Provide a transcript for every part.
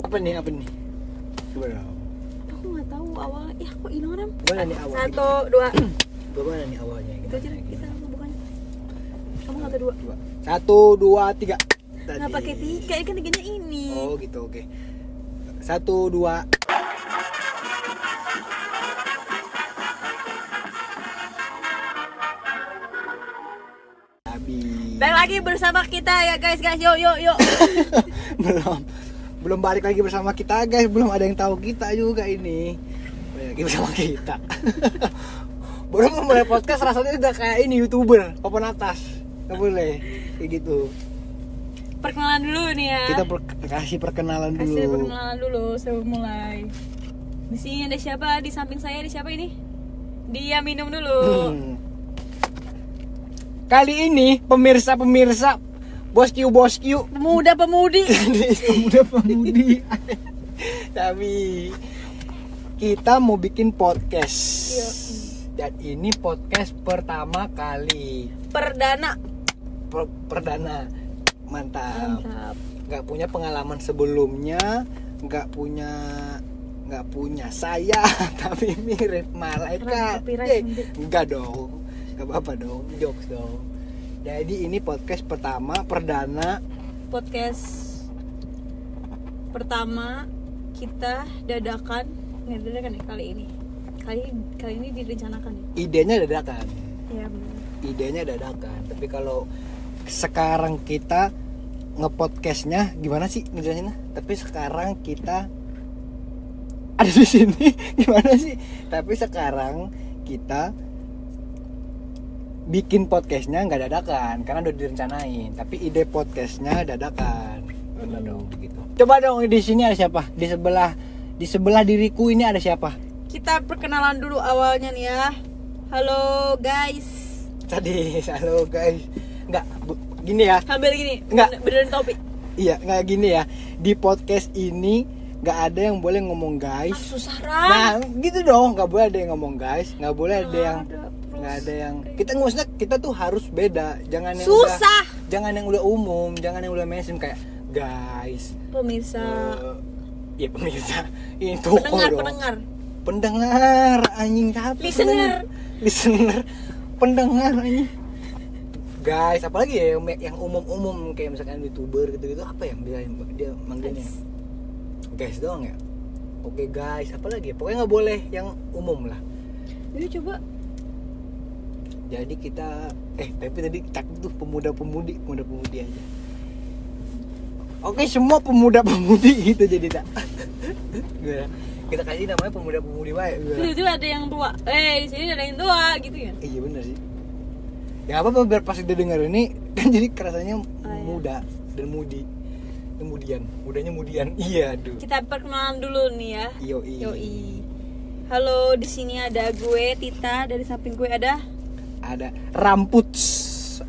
apa nih apa nih coba dah aku nggak tahu awalnya ya kok hilang ram gimana nih awalnya satu dua Gua mana nih awalnya itu aja deh, kita apa bukannya kamu nggak tahu dua Coba. satu dua tiga Tadi. nggak pakai tiga ini kan tiganya ini oh gitu oke satu dua habis balik lagi bersama kita ya guys guys yuk yuk yuk belum belum balik lagi bersama kita guys belum ada yang tahu kita juga ini balik lagi bersama kita baru mau mulai podcast rasanya udah kayak ini youtuber papan atas nggak boleh kayak gitu perkenalan dulu nih ya kita per- kasih perkenalan dulu kasih perkenalan dulu sebelum mulai di sini ada siapa di samping saya ada siapa ini dia minum dulu Hmm. kali ini pemirsa pemirsa bos Q bos Q pemuda pemudi pemuda pemudi tapi kita mau bikin podcast Iya. dan ini podcast pertama kali perdana Per- perdana mantap mantap nggak punya pengalaman sebelumnya nggak punya nggak punya saya tapi mirip malaikat Copyright Eh, nanti. enggak dong nggak apa-apa dong jokes dong jadi ini podcast pertama perdana podcast pertama kita dadakan nggak dadakan ya kali ini kali kali ini direncanakan ya idenya dadakan ya benar idenya dadakan tapi kalau sekarang kita ngepodcastnya gimana sih ngejelasinnya tapi sekarang kita ada di sini gimana sih tapi sekarang kita bikin podcastnya nggak dadakan karena udah direncanain tapi ide podcastnya dadakan benar dong gitu coba dong di sini ada siapa di sebelah di sebelah diriku ini ada siapa kita perkenalan dulu awalnya nih ya halo guys tadi halo guys nggak bu- gini ya sambil gini Nggak. beneran topik Iya, nggak gini ya. Di podcast ini nggak ada yang boleh ngomong ah, guys. susah ram Nah, gitu dong. Nggak boleh ada yang ngomong guys. Nggak boleh ada Nggak yang ada, terus. nggak ada yang kita maksudnya kita tuh harus beda. Jangan yang udah, susah jangan yang udah umum, jangan yang udah mainstream kayak guys. pemirsa eh, ya pemirsa itu Nah. pendengar dong. pendengar Pendengar, anjing tapi Listener. pendengar. listener pendengar anjing guys apalagi ya yang, yang umum-umum kayak misalkan youtuber gitu-gitu apa yang dia dia manggilnya guys Guys. doang ya oke guys apalagi ya? pokoknya nggak boleh yang umum lah yuk coba jadi kita eh tapi tadi cakep tuh pemuda-pemudi pemuda-pemudi aja oke semua pemuda-pemudi gitu jadi tak Gila. kita kasih namanya pemuda-pemudi baik gila. itu ada yang tua eh di sini ada yang tua gitu ya Iya bener sih. Ya apa apa biar pas dia denger ini kan jadi kerasanya iya. muda dan mudi. Kemudian, mudanya mudian. Iya, aduh. kita perkenalan dulu nih ya Yoi. Yoi. Halo, di sini ada gue Tita, dari samping gue ada Ada Ramputs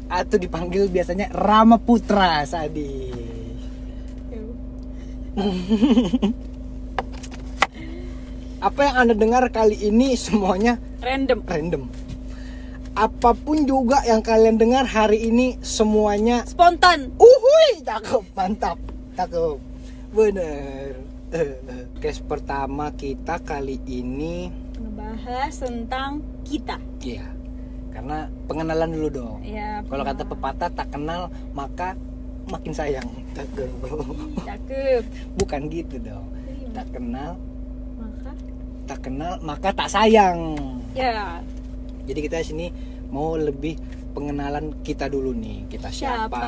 atau dipanggil biasanya Rama Putra Sadi. Apa yang Anda dengar kali ini semuanya random. random. Apapun juga yang kalian dengar hari ini semuanya Spontan. Uhuy, cakep, mantap, cakep, bener. Eh, Case pertama kita kali ini, Ngebahas tentang kita. ya, karena pengenalan dulu dong. Ya. Kalau kata pernah. pepatah tak kenal maka makin sayang. Cakep. Ih, Cakep. Bukan gitu dong. Ih, Tak kenal, Iya, Maka tak kenal maka tak sayang. ya Jadi kita sini mau lebih pengenalan kita dulu nih. Kita siapa? siapa?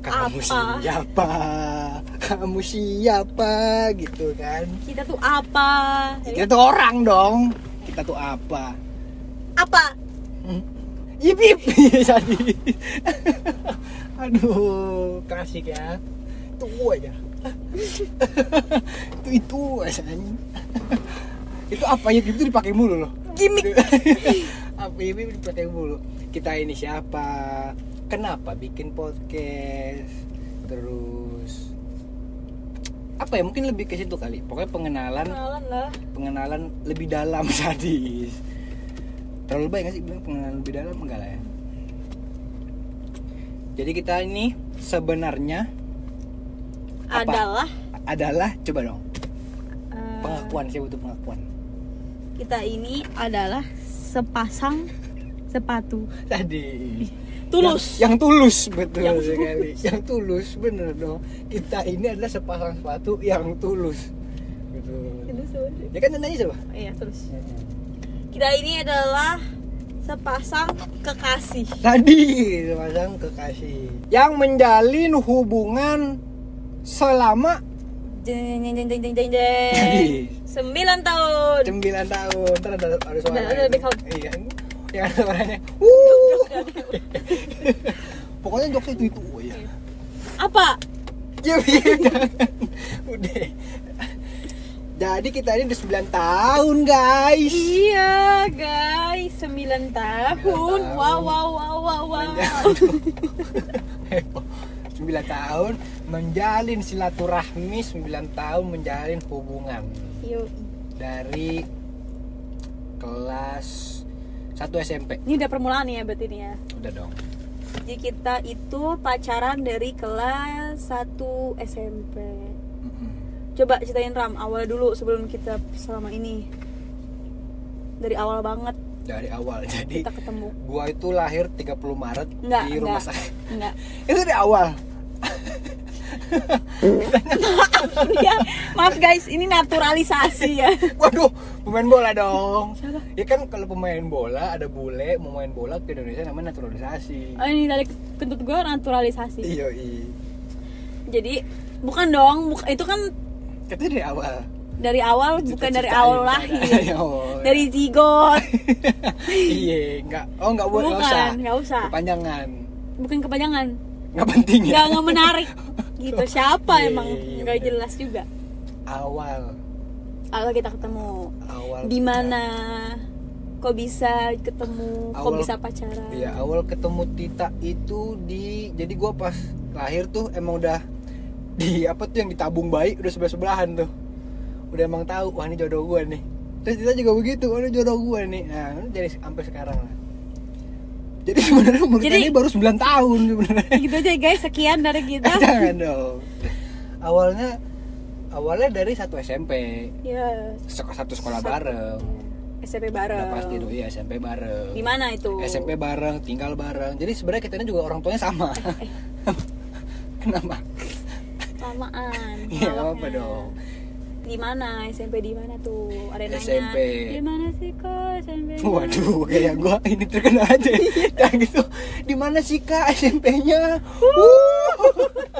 kamu Apa? siapa kamu siapa gitu kan Kita tuh apa? Ya, kita tuh orang dong kita tuh apa Apa? ip ip Iya, jadi aduh klasik ya tuh aja itu itu rasanya itu apa ya itu dipakai mulu loh Gimik. apa ini dipakai mulu kita ini siapa kenapa bikin podcast terus apa ya mungkin lebih ke situ kali pokoknya pengenalan Kenalan lah. pengenalan lebih dalam sadis terlalu baik nggak sih bilang pengenalan lebih dalam enggak lah ya jadi kita ini sebenarnya Apa? adalah adalah coba dong eh, pengakuan saya butuh pengakuan kita ini adalah sepasang sepatu tadi tulus yang, yang tulus betul Yang sekali yang tulus bener dong kita ini adalah sepasang sepatu yang tulus betul ya kan nanya coba Oh iya tulus kita ini adalah sepasang kekasih tadi sepasang kekasih yang menjalin hubungan selama jeng jeng jeng jeng jeng jeng jeng sembilan tahun 9 tahun ntar ada ada suara Ada- ada itu. back out. iya yang ada suaranya Wuh. pokoknya jokes itu itu oh, ya apa Ya udah. Udah. Jadi kita ini udah 9 tahun, guys. iya guys sembilan tahun tahun. wow wow wow wow wow Menjalin- 9 tahun menjalin silaturahmi, 9 tahun menjalin hubungan Yoi. dari kelas 1 SMP. ini udah permulaan ya berarti ini ya Udah dong. jadi kita itu pacaran dari kelas 1 SMP Mm-mm. coba ceritain Ram awal dulu sebelum kita selama ini dari awal banget Dari awal. Jadi kita ketemu gua itu lahir 30 Maret enggak di rumah enggak sakit. enggak Itu dari awal. Ya, maaf guys ini naturalisasi ya Waduh, pemain bola dong. Siapa? Ya kan kalau pemain bola ada bule mau main bola ke Indonesia namanya naturalisasi. oh, ini dari kentut gue naturalisasi Iya, iya. jadi bukan dong buk- itu kan Katanya dari awal. dari awal bukan dari Cita-citain, awal dari lahir awal. dari zigot oh. Iya, enggak. Oh, enggak boleh enggak usah. bukan nggak usah Kepanjangan. bukan kepanjangan Enggak penting ya. nggak nggak menarik gitu siapa Iya, emang iya, iya, nggak bener. jelas juga Awal. awal kita ketemu Awal. di mana kok bisa ketemu kok Awal- bisa pacaran Iya, awal ketemu Tita itu di jadi gua pas lahir tuh emang udah di apa tuh yang ditabung bayi udah sebelah-sebelahan tuh. Udah emang tahu wah ini jodoh gua nih. Terus Tita juga begitu, wah ini jodoh gua nih. Nah, ini jadi sampai sekarang lah. Jadi sebenarnya umur kita Jadi- ini baru 9 tahun sebenarnya. gitu aja guys sekian dari kita Jangan dong. Awalnya awalnya dari satu SMP, ya sek- satu sekolah Sat- bareng. SMP Udah bareng pasti tuh iya SMP bareng. di mana itu SMP bareng, tinggal bareng. Jadi sebenarnya kita ini juga orang tuanya sama. Kenapa? lamaan Iya, lawaknya. apa dong? di mana SMP di mana tuh ada yang SMP. nanya di mana sih kok SMP -nya?" Waduh, kayak gua ini terkena aja. Dan gitu. Di mana sih Kak SMP-nya? Wuh.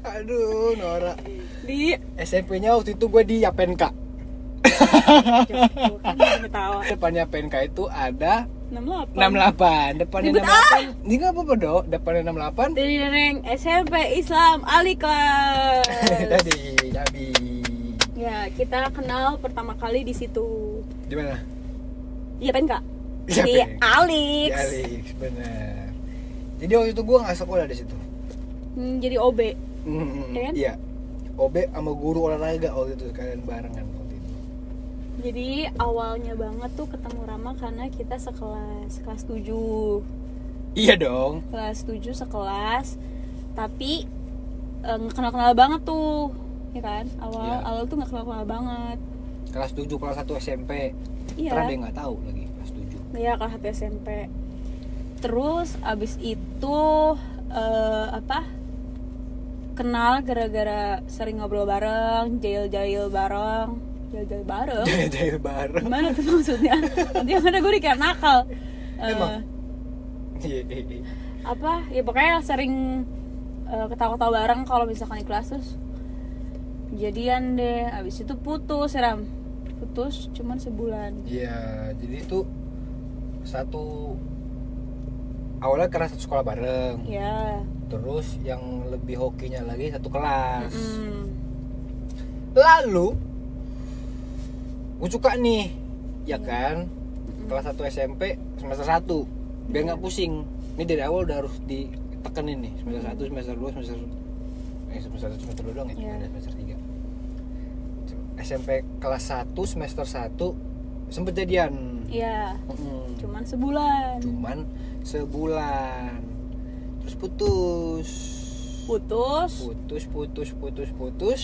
Aduh, Nora. di SMP-nya waktu itu gue di Yapenka. Jogja. Kan ketawa Depannya Yapenka itu ada 68 68. Depannya Ribet ah. 68. Ini enggak apa-apa, Dok. Depannya 68. Tireng SMP Islam Ali Kelas. Tadi, Nabi. ya, kita kenal pertama kali di situ. Di mana? Iya kan Kak? Iya, Pen. Di Di Alex. Alex, benar. Iya, Jadi waktu itu gue nggak sekolah di situ. Hmm, jadi OB. Hmm, Iya kan? Iya. OB sama guru olahraga waktu itu kalian barengan waktu itu. Jadi awalnya banget tuh ketemu Rama karena kita sekelas, kelas 7. Iya dong. Kelas 7 sekelas. Tapi eh, nggak kenal-kenal banget tuh. Ya kan? Awal Iya. awal tuh nggak kenal-kenal banget. Kelas 7, kelas 1 SMP. Iya. Terus ada yang nggak tahu lagi kelas 7. Iya kelas satu SMP. Terus abis itu eh, apa? Kenal gara-gara sering ngobrol bareng, jail-jail bareng, jail-jail bareng. Jahil-jahil bareng. Gimana tuh maksudnya? Nanti yang ada gue dikira nakal. Eh, Emang? Iya, iya, iya. apa? Ya pokoknya sering eh, ketawa-ketawa bareng kalau misalkan di kelas terus jadian deh. Abis itu putus, ya, Ram. Putus cuman sebulan. Iya, jadi itu satu awalnya karena satu sekolah bareng. Ya. Terus yang lebih hokinya lagi satu kelas. Mm-mm. Lalu gue suka nih, ya Hmm. kan? Kelas 1 SMP semester 1 biar nggak pusing. Ini dari awal udah harus ditekenin nih semester 1, semester 2, semester eh semester 1, semester 2 doang ya, Hmm. Iya. ada semester 3. SMP kelas 1 semester 1 sempet jadian. Iya. Mm-mm. cuman sebulan Cuman sebulan. Terus putus. putus putus putus putus putus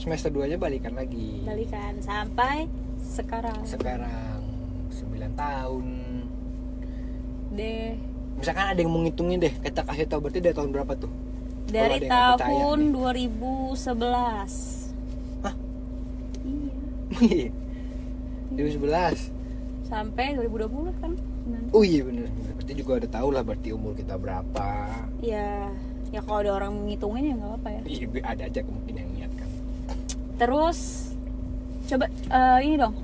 semester 2 nya balikan lagi balikan sampai sekarang sekarang 9 tahun Oh, deh misalkan ada yang mau ngitungin deh kita kasih tahu berarti dari tahun berapa tuh ada dari yang nggak percaya tahun 2011 Hah? iya 2011 sampai 2020 kan oh iya bener berarti juga udah tahu lah berarti umur kita berapa ya ya kalau ada orang ngitungin ya nggak apa-apa ya Iya, ada aja mungkin yang niat kan terus coba eh, ini dong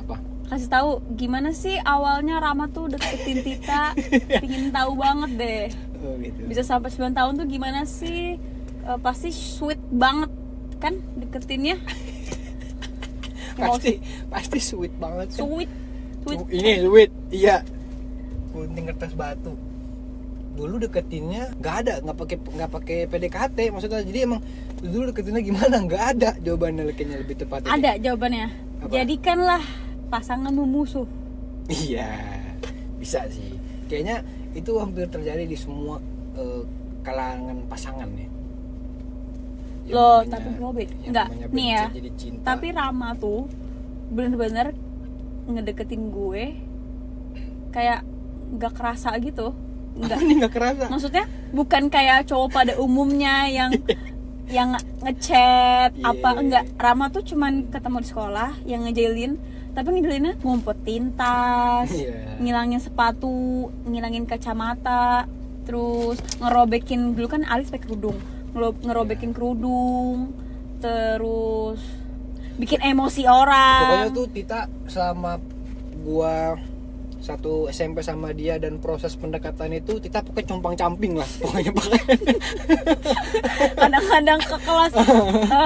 apa kasih tahu gimana sih awalnya Rama tuh deketin Tita pingin tahu banget deh oh gitu bisa sampai 9 tahun tuh gimana sih Eh, pasti sweet banget kan deketinnya pasti pasti sweet banget kan? sweet sweet Oh, ini sweet iya gunting kertas batu dulu deketinnya nggak ada nggak pakai nggak pakai PDKT maksudnya jadi emang dulu deketinnya gimana nggak ada jawabannya kayaknya lebih tepatnya ada jawabannya Apa? jadikanlah pasanganmu musuh iya bisa sih kayaknya itu hampir terjadi di semua eh, kalangan pasangan ya Yang Loh, namanya- tapi gue be- yang nggak, namanya nih ya. benci jadi cinta. Tapi Rama tuh bener-bener ngedeketin gue kayak nggak kerasa gitu. Apa Nggak. nih nggak kerasa Maksudnya bukan kayak cowok pada umumnya yang yang ngechat Iya. apa enggak. Rama tuh cuman ketemu di sekolah yang ngejailin tapi ngejelinnya ngumpetin tas, Iya. ngilangin sepatu, ngilangin kacamata, terus ngerobekin dulu kan alis pakai kerudung, ngero- Iya. ngerobekin kerudung, terus bikin emosi pokoknya orang. tuh Tita selama gua satu SMP sama dia dan proses pendekatan itu Tita pakai compang camping lah pokoknya pakai Kadang-kadang ke kelas eh,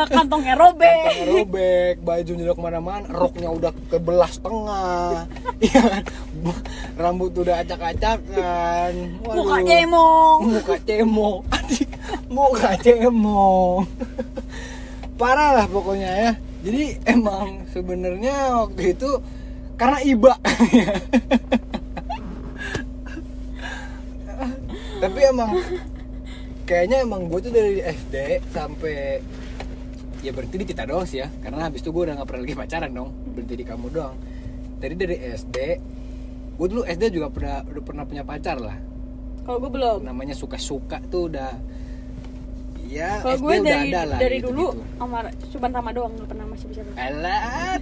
kantongnya robek. kantongnya robek bajunya udah kemana-mana roknya udah kebelas tengah Iya kan? Bu- rambut udah acak-acakan Waduh. Mukanya emong. muka cemo Adik, muka cemo parah lah pokoknya ya jadi emang sebenarnya waktu itu karena iba tapi emang kayaknya emang gue tuh dari SD sampai ya berhenti di kita doang sih ya karena habis itu gue udah nggak pernah lagi pacaran dong berhenti di kamu doang jadi dari SD gue dulu SD juga pernah udah pernah punya pacar lah Kalau gue belum. namanya suka-suka tuh udah ya Kalau SD gue udah dari ada lah dari gitu-gitu. Eh? dulu Amar cuma Rama doang nggak pernah masih bisa. Alat.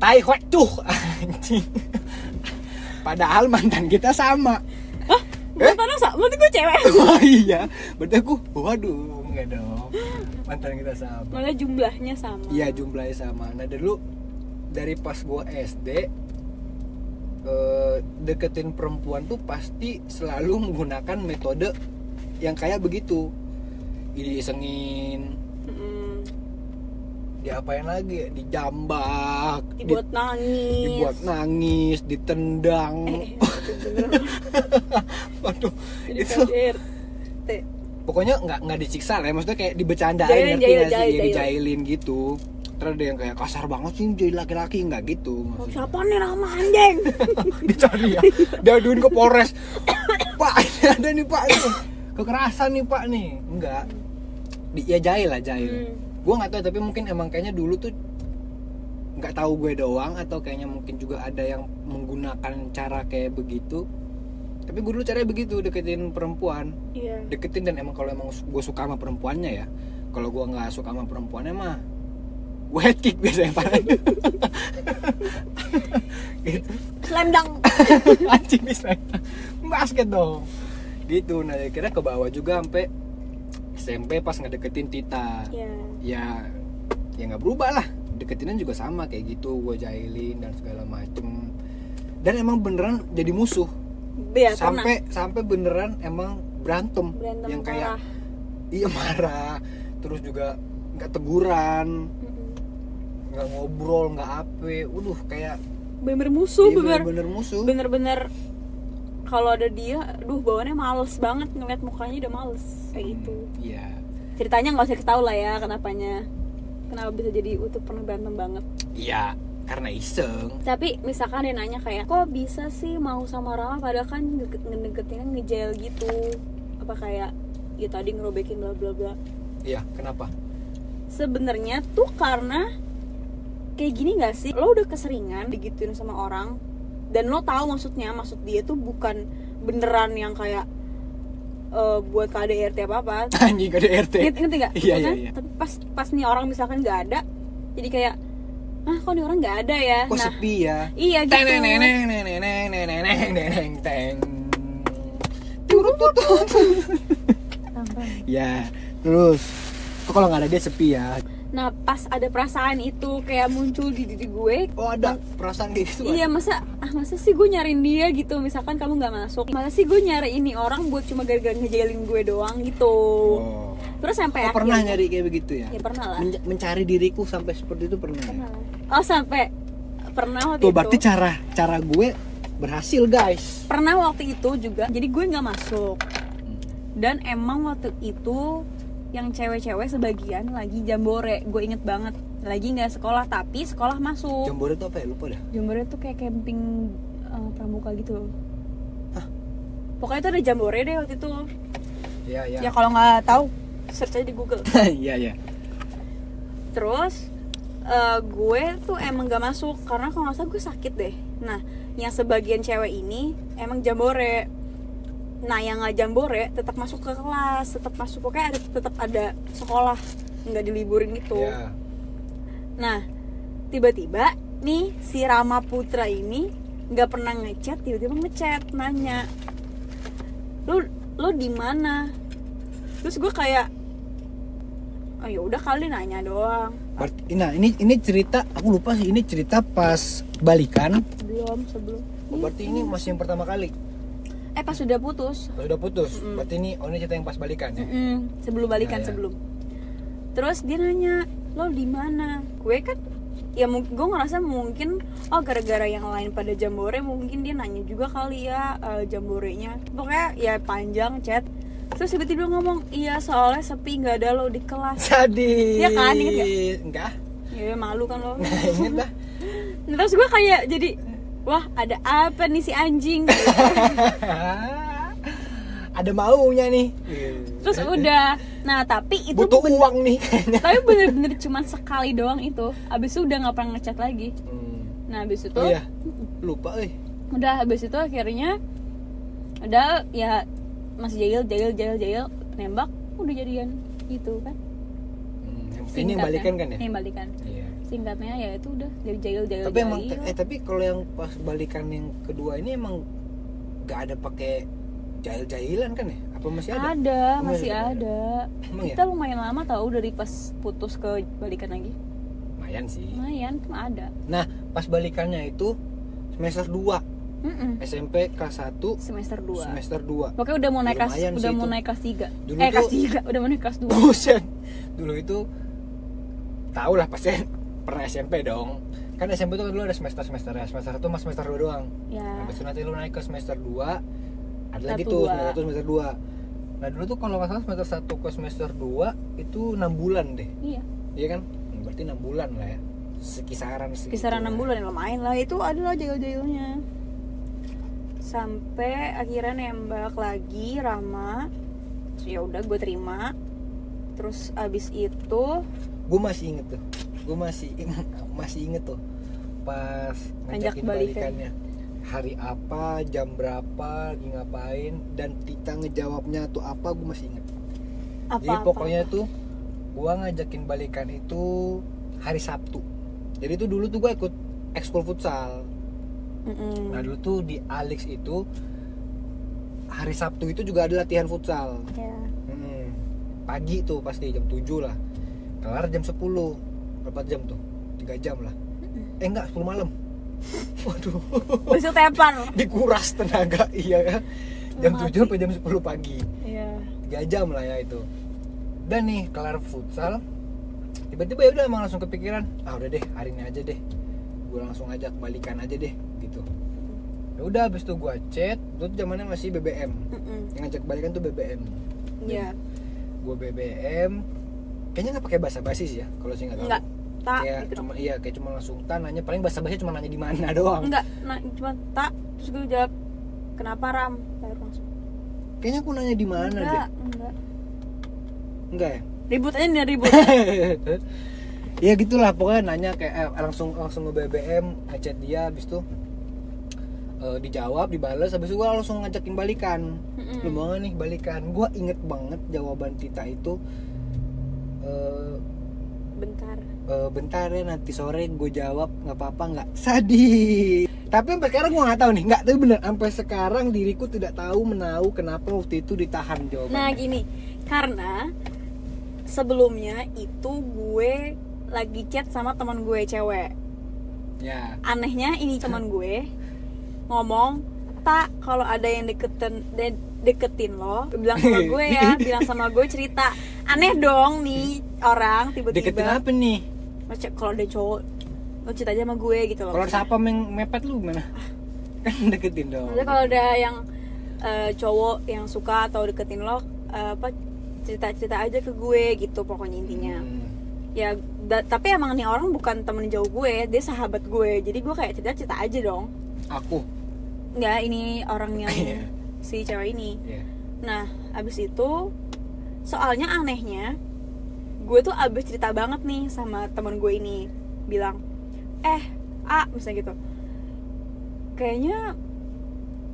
Tai hot tuh anjing. Padahal mantan kita sama. Eh? Mantan dosa, berarti gue cewek. Wah iya, berarti aku waduh enggak dong. Mantan kita sama. Malah jumlahnya sama. Iya jumlahnya sama. Nah dulu dari pas gua SD eh, deketin perempuan tuh pasti selalu menggunakan metode yang kayak begitu. Ini isengin, Mm-mm. diapain lagi ya? dijambak di- Dibuat nangis. dibuat nangis ditendang Eh, waduh jadi itu KDRT. pokoknya nggak nggak disiksa lah ya. maksudnya kayak dibecandain Jahilin, ngerti jahil, nggak sih? jahil, Iya, jahil. dijailin gitu terus ada yang kayak kasar banget sih jadi laki-laki nggak gitu Oh, maksudnya. siapa nih Rama anjing? dicari ya diaduin ke Polres pak ini ada nih pak ini kekerasan nih pak nih enggak Di- ya jahil lah jahil Hmm. gue nggak tahu tapi mungkin emang kayaknya dulu tuh nggak tahu gue doang atau kayaknya mungkin juga ada yang menggunakan cara kayak begitu tapi gue dulu caranya begitu deketin perempuan Iya. deketin dan emang kalau emang gue suka sama perempuannya ya kalau gue nggak suka sama perempuannya mah gue head kick biasanya parah gitu Slam dunk. anjing bisa basket dong gitu nah kira ke bawah juga sampai SMP pas ngedeketin Tita Iya. ya ya nggak berubah lah deketinnya juga sama kayak gitu gue jahilin dan segala macem dan emang beneran jadi musuh Iya, pernah. sampai sampai beneran emang berantem, Berantem yang kayak parah. iya marah terus juga nggak teguran Mm-mm. nggak ngobrol nggak apa waduh kayak Bener musuh, dia bener Iya, bener-bener musuh bener-bener kalau ada dia, aduh bawaannya males banget ngeliat mukanya udah males kayak gitu. iya Ceritanya nggak usah kita tahu lah ya kenapanya. Kenapa bisa jadi utuh pernah berantem banget. iya karena iseng Tapi misalkan dia nanya kayak, kok bisa sih mau sama Rama padahal kan ngede- ngedeketinnya ngejail gitu. apa kayak ya tadi ngerobekin bla bla bla Iya, kenapa? sebenarnya tuh karena kayak gini gak sih lo udah keseringan digituin sama orang dan lo tahu maksudnya maksud dia tuh bukan beneran yang kayak eh, buat KDRT apa apa Anjing gak ada RT. Ingat inget nggak? Iya, Kan? iya, iya. Tapi pas pas nih orang misalkan nggak ada, jadi kayak ah kok nih orang nggak ada ya? Kok nah, sepi ya? iya gitu. Teng neng neng neng neng neng neng neng neng neng neng neng teng. Turut tutut. Ya, terus kok kalau nggak ada dia sepi ya? Nah pas ada perasaan itu kayak muncul di diri gue. Oh ada perasaan kayak gitu. Iya masa ah masa sih gue nyariin dia gitu misalkan kamu nggak masuk masa sih gue nyari ini orang buat cuma gara-gara ngejailin gue doang gitu Oh. terus sampai Oh, pernah akhirnya- nyari kayak begitu ya? ya pernah lah Men- mencari diriku sampai seperti itu pernah. Gitu. ya? pernah lah. oh sampai pernah waktu Tuh itu berarti cara cara gue berhasil guys. pernah waktu itu juga jadi gue nggak masuk dan emang waktu itu yang cewek-cewek sebagian lagi jambore gue inget banget lagi nggak sekolah tapi sekolah masuk Jambore itu apa ya? Lupa dah. jambore tuh kayak camping eh, pramuka gitu loh Hah? pokoknya itu ada jambore deh waktu itu Iya ya kalau nggak tahu search aja di google Iya iya. terus eh, gue tuh emang gak masuk karena kalau nggak salah gue sakit deh nah yang sebagian cewek ini emang jambore nah yang nggak jambore tetap masuk ke kelas tetap masuk pokoknya ada tetap ada sekolah nggak diliburin gitu Iya. nah tiba-tiba nih si Rama Putra ini nggak pernah ngechat tiba-tiba ngechat nanya lu lu di mana terus gue kayak oh ya udah kali nanya doang Berarti- Nah ini ini cerita aku lupa sih ini cerita pas balikan. belum sebelum Oh, berarti ini masih yang pertama kali. eh pas sudah putus Pas udah putus. Mm-mm. Berarti ini oh ini cerita yang pas balikan ya. Mm-mm, sebelum balikan Nah, ya. sebelum terus dia nanya lo di mana gue kan ya mungkin gue ngerasa mungkin oh gara-gara yang lain pada jambore mungkin dia nanya juga kali ya eh, jamborenya pokoknya ya panjang chat terus tiba-tiba ngomong iya soalnya sepi nggak ada lo di kelas Sadis. Iya kan, inget nggak? Enggak. ya malu kan lo Nah, inget dah. Nah, terus gue kayak jadi wah ada apa nih si anjing Ada maunya nih. Iya. terus udah nah tapi itu Butuh uang nih. tapi bener-bener cuman sekali doang itu abis itu udah nggak pernah ngechat lagi Hmm. nah abis itu Oh iya. Lupa eh. udah abis itu akhirnya udah ya masih jahil jahil jahil jahil nembak udah jadian gitu kan Hmm, Ini yang balikan kan ya? Ini yang balikan Iya. singkatnya ya itu udah dari jahil jahil tapi emang jahil. eh tapi kalau yang pas balikan yang kedua ini emang gak ada pakai jahil-jahilan kan ya apa masih ada ada masih Masih ada. ada emang ya kita lumayan lama tau dari pas putus ke balikan lagi lumayan sih lumayan cuma ada nah pas balikannya itu semester 2 Mm-mm. SMP kelas 1 semester 2 semester 2 pokoknya udah mau naik kelas Lumayan sih udah mau itu. naik kelas 3 Dulu eh kelas tuh- 3 udah mau naik kelas 2 buset dulu itu tau lah pasti pernah SMP dong kan SMP itu kan dulu ada semester semester ya semester 1 mas semester 2 doang ya Habis itu nanti lu naik ke semester 2 Ada Satu, lagi tuh dua. semester 1 semester 2 Nah dulu tuh kalau nggak salah semester 1 ke semester 2 Itu 6 bulan deh iya Iya kan? Hmm, Berarti 6 bulan lah ya Sekisaran segitu kisaran lah. enam bulan ya lumayan lah itu adalah jail-jailnya sampai akhirnya nembak lagi Rama Terus ya udah gue terima terus abis itu Gue masih inget tuh Gue masih inget, masih inget tuh Pas Ajak kan? ngajakin balikan. balikannya Hari apa, jam berapa, lagi ngapain Dan Tita ngejawabnya tuh apa gue masih inget apa Jadi pokoknya tuh gua ngajakin balikan itu hari Sabtu. Jadi tuh dulu tuh gua ikut ekskul futsal. Nah, dulu tuh di Alex itu hari Sabtu itu juga ada latihan futsal. ya. Mm-mm. Hmm. Pagi tuh pasti jam 7 lah. Kelar jam 10. Berapa jam tuh? 3 jam lah. Eh enggak, 10 malam. Waduh, besok tepan dikuras tenaga iya kan. Jam Mati. 7 sampai jam 10 pagi. ya 3 jam lah ya itu udah nih kelar futsal tiba-tiba ya udah emang langsung kepikiran ah udah deh hari ini aja deh gue langsung ajak balikan aja deh gitu ya udah habis itu gue chat itu tuh zamannya masih BBM yang ngajak balikan tuh BBM ya Iya. gue BBM kayaknya nggak pakai bahasa basi sih ya kalau sih nggak tahu nggak tak kayak gitu cuma iya kayak cuma langsung tanahnya paling bahasa basi cuma nanya di mana doang enggak nah, cuma tak terus gue jawab kenapa Ram baru langsung Kayaknya aku nanya di mana deh. enggak enggak Enggak ya? ribut aja nih ribut ya gitulah pokoknya nanya kayak eh, langsung langsung ke BBM ngechat dia habis itu eh, dijawab dibales habis itu gua langsung ngajakin balikan Mm-mm. lu mau gak nih balikan gua inget banget jawaban Tita itu eh, bentar eh, bentar ya nanti sore gue jawab nggak apa-apa nggak sadis tapi sampai sekarang gue nggak tahu nih nggak tapi bener sampai sekarang diriku tidak tahu menahu kenapa waktu itu ditahan Nah jawabannya gini, karena sebelumnya itu gue lagi chat sama teman gue cewek. ya Anehnya ini teman gue ngomong tak kalau ada yang deketin de- deketin lo bilang sama gue ya bilang sama gue cerita aneh dong nih orang deketin tiba-tiba apa nih Maksudnya, kalau ada cowok lo cerita aja sama gue gitu loh kalau siapa yang mepet lu gimana kan deketin dong Maksudnya kalau ada yang eh, cowok yang suka atau deketin lo eh, apa cerita-cerita aja ke gue gitu pokoknya intinya Hmm. ya da- tapi emang nih orang bukan temen jauh gue dia sahabat gue jadi gue kayak cerita cerita aja dong aku nggak ini orang yang Iya. si cewek ini ya nah abis itu soalnya anehnya gue tuh abis cerita banget nih sama temen gue ini bilang eh a misalnya gitu kayaknya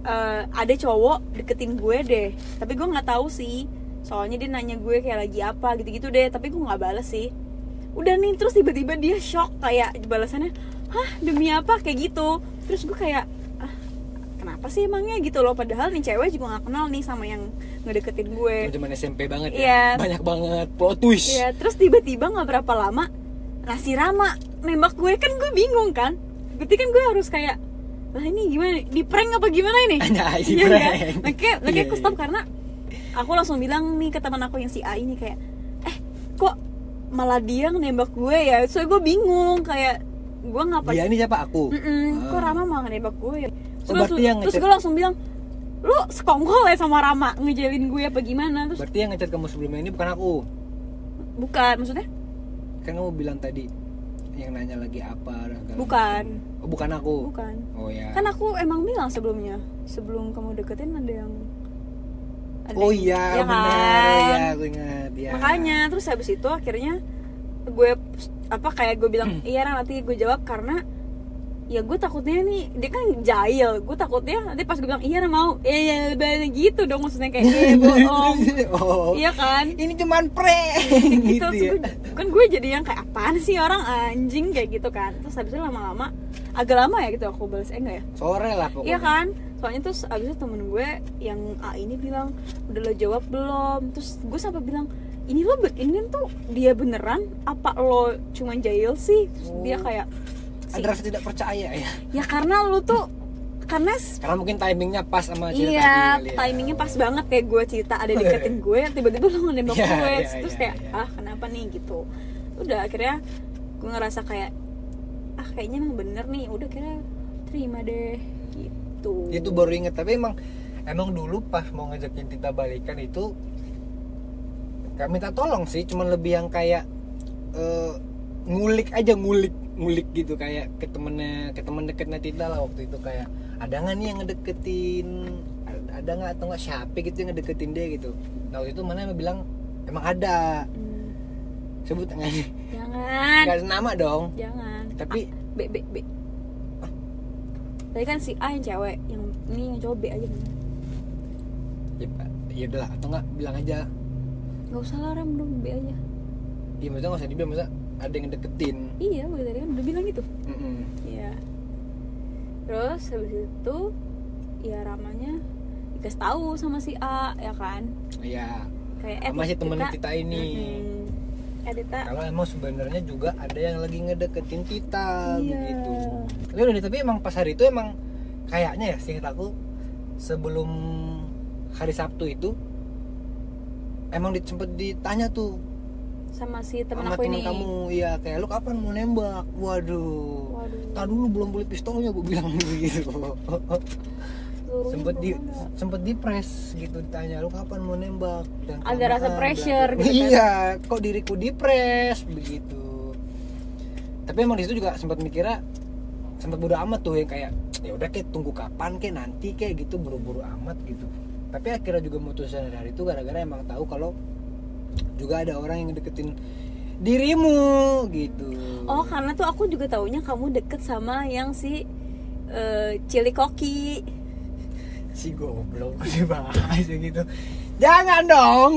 eh, ada cowok deketin gue deh tapi gue nggak tahu sih soalnya dia nanya gue kayak lagi apa gitu-gitu deh tapi gue nggak balas sih udah nih terus tiba-tiba dia shock kayak balasannya hah demi apa kayak gitu terus gue kayak ah, kenapa sih emangnya gitu loh padahal nih cewek juga nggak kenal nih sama yang ngedeketin gue zaman SMP banget Eh. ya Iya. banyak banget plot twist Iya, terus tiba-tiba nggak berapa lama Rasi Rama nembak gue kan gue bingung kan. Berarti kan gue harus kayak lah ini gimana? Di prank apa gimana ini? Nah, di Iya kan? prank. Makanya, makanya Iya, aku stop iya. karena aku langsung bilang nih ke teman aku yang si A ini kayak eh kok malah dia nembak gue ya? Soalnya gue bingung kayak gue ngapa dia ini siapa aku Nah, Mm-mm, kok Iya. Ah. Rama malah nembak gue ya? Oh, Terus, berarti yang terus ngechat- gue langsung bilang lu sekongkol ya sama Rama ngejalin gue apa gimana terus berarti yang ngechat kamu sebelumnya ini bukan aku bukan maksudnya kan kamu bilang tadi yang nanya lagi apa dan segala Bukan. macam. oh, bukan aku bukan oh ya kan aku emang bilang sebelumnya sebelum kamu deketin ada yang ada oh yang- iya ya benar kan? ya aku ingat ya makanya terus habis itu akhirnya gue apa kayak gue bilang iya Ra, nanti gue jawab karena ya gue takutnya nih dia kan jahil gue takutnya nanti pas gue bilang iya Ra, mau iya iya banyak gitu dong maksudnya kayak iya bohong oh iya kan ini cuman pre Kayak gitu, gitu, Terus ya gue- kan gue jadi yang kayak apaan sih orang anjing kayak gitu kan terus habis itu lama-lama agak lama ya gitu aku balas eh enggak ya sore lah pokoknya Iya kan? Soalnya terus abis itu temen gue yang A ini bilang udah lo jawab belum? Terus gue sampai bilang ini lo be- ini tuh dia beneran apa lo cuman jahil sih? Terus Oh. dia kayak ada rasa tidak percaya ya ya karena lo tuh karena s- karena mungkin timingnya pas sama cerita iya tadi kali ya. timingnya pas banget kayak gue cerita ada deketin gue tiba-tiba lo nembak Iya, gue iya, terus iya, kayak iya. ah kenapa nih gitu udah akhirnya gue ngerasa kayak ah kayaknya emang bener nih udah kira terima deh gitu itu baru inget tapi emang emang dulu pas mau ngajakin Tita balikan itu nggak minta tolong sih cuman lebih yang kayak eh, ngulik aja ngulik ngulik gitu kayak ke temennya ke temen deketnya Tita lah waktu itu kayak ada nggak nih yang ngedeketin ada nggak atau nggak siapa gitu yang ngedeketin dia gitu nah waktu itu mana yang bilang emang ada Hmm. sebut nggak nih? Jangan. nggak ada nama dong Jangan. tapi A, B B B. Tadi kan si A yang cewek, yang ini yang cowok B aja. kan. ya, ya udahlah atau nggak bilang aja Gak usah lah Ram, dong B aja. ya maksudnya nggak usah dibilang maksudnya ada yang ngedeketin Iya, gue tadi kan udah bilang gitu. Mm-mm. Iya. Terus habis itu ya Ramanya dikasih tahu sama si A ya kan. Iya. Kayak eh, Sama si temen kita ini. Mm-mm. Eh Tita. Kalau emang sebenarnya juga ada yang lagi ngedeketin kita Iya. begitu. Tapi udah deh, tapi emang pas hari itu emang kayaknya ya singkat aku sebelum hari Sabtu itu emang di, sempet ditanya tuh Sama si temen sama aku temen ini. kamu iya kayak lu kapan mau nembak waduh Waduh. Tar dulu belum beli pistolnya gue bilang gitu seluruhnya sempet di belum ada. sempet di press gitu ditanya lu kapan mau nembak dan Ada kelamaan, rasa bla- pressure bla- gitu kan. iya kok diriku di press begitu tapi emang di situ juga sempat mikirnya "Ya sempat bodo amat tuh yang kayak ya udah kayak tunggu kapan kayak nanti kayak gitu buru-buru amat gitu tapi akhirnya juga mutusin dari hari itu gara-gara emang tahu kalau juga ada orang yang deketin dirimu gitu Oh karena tuh aku juga taunya kamu deket sama yang si eh, Cili Koki si goblok sih bahas gitu jangan dong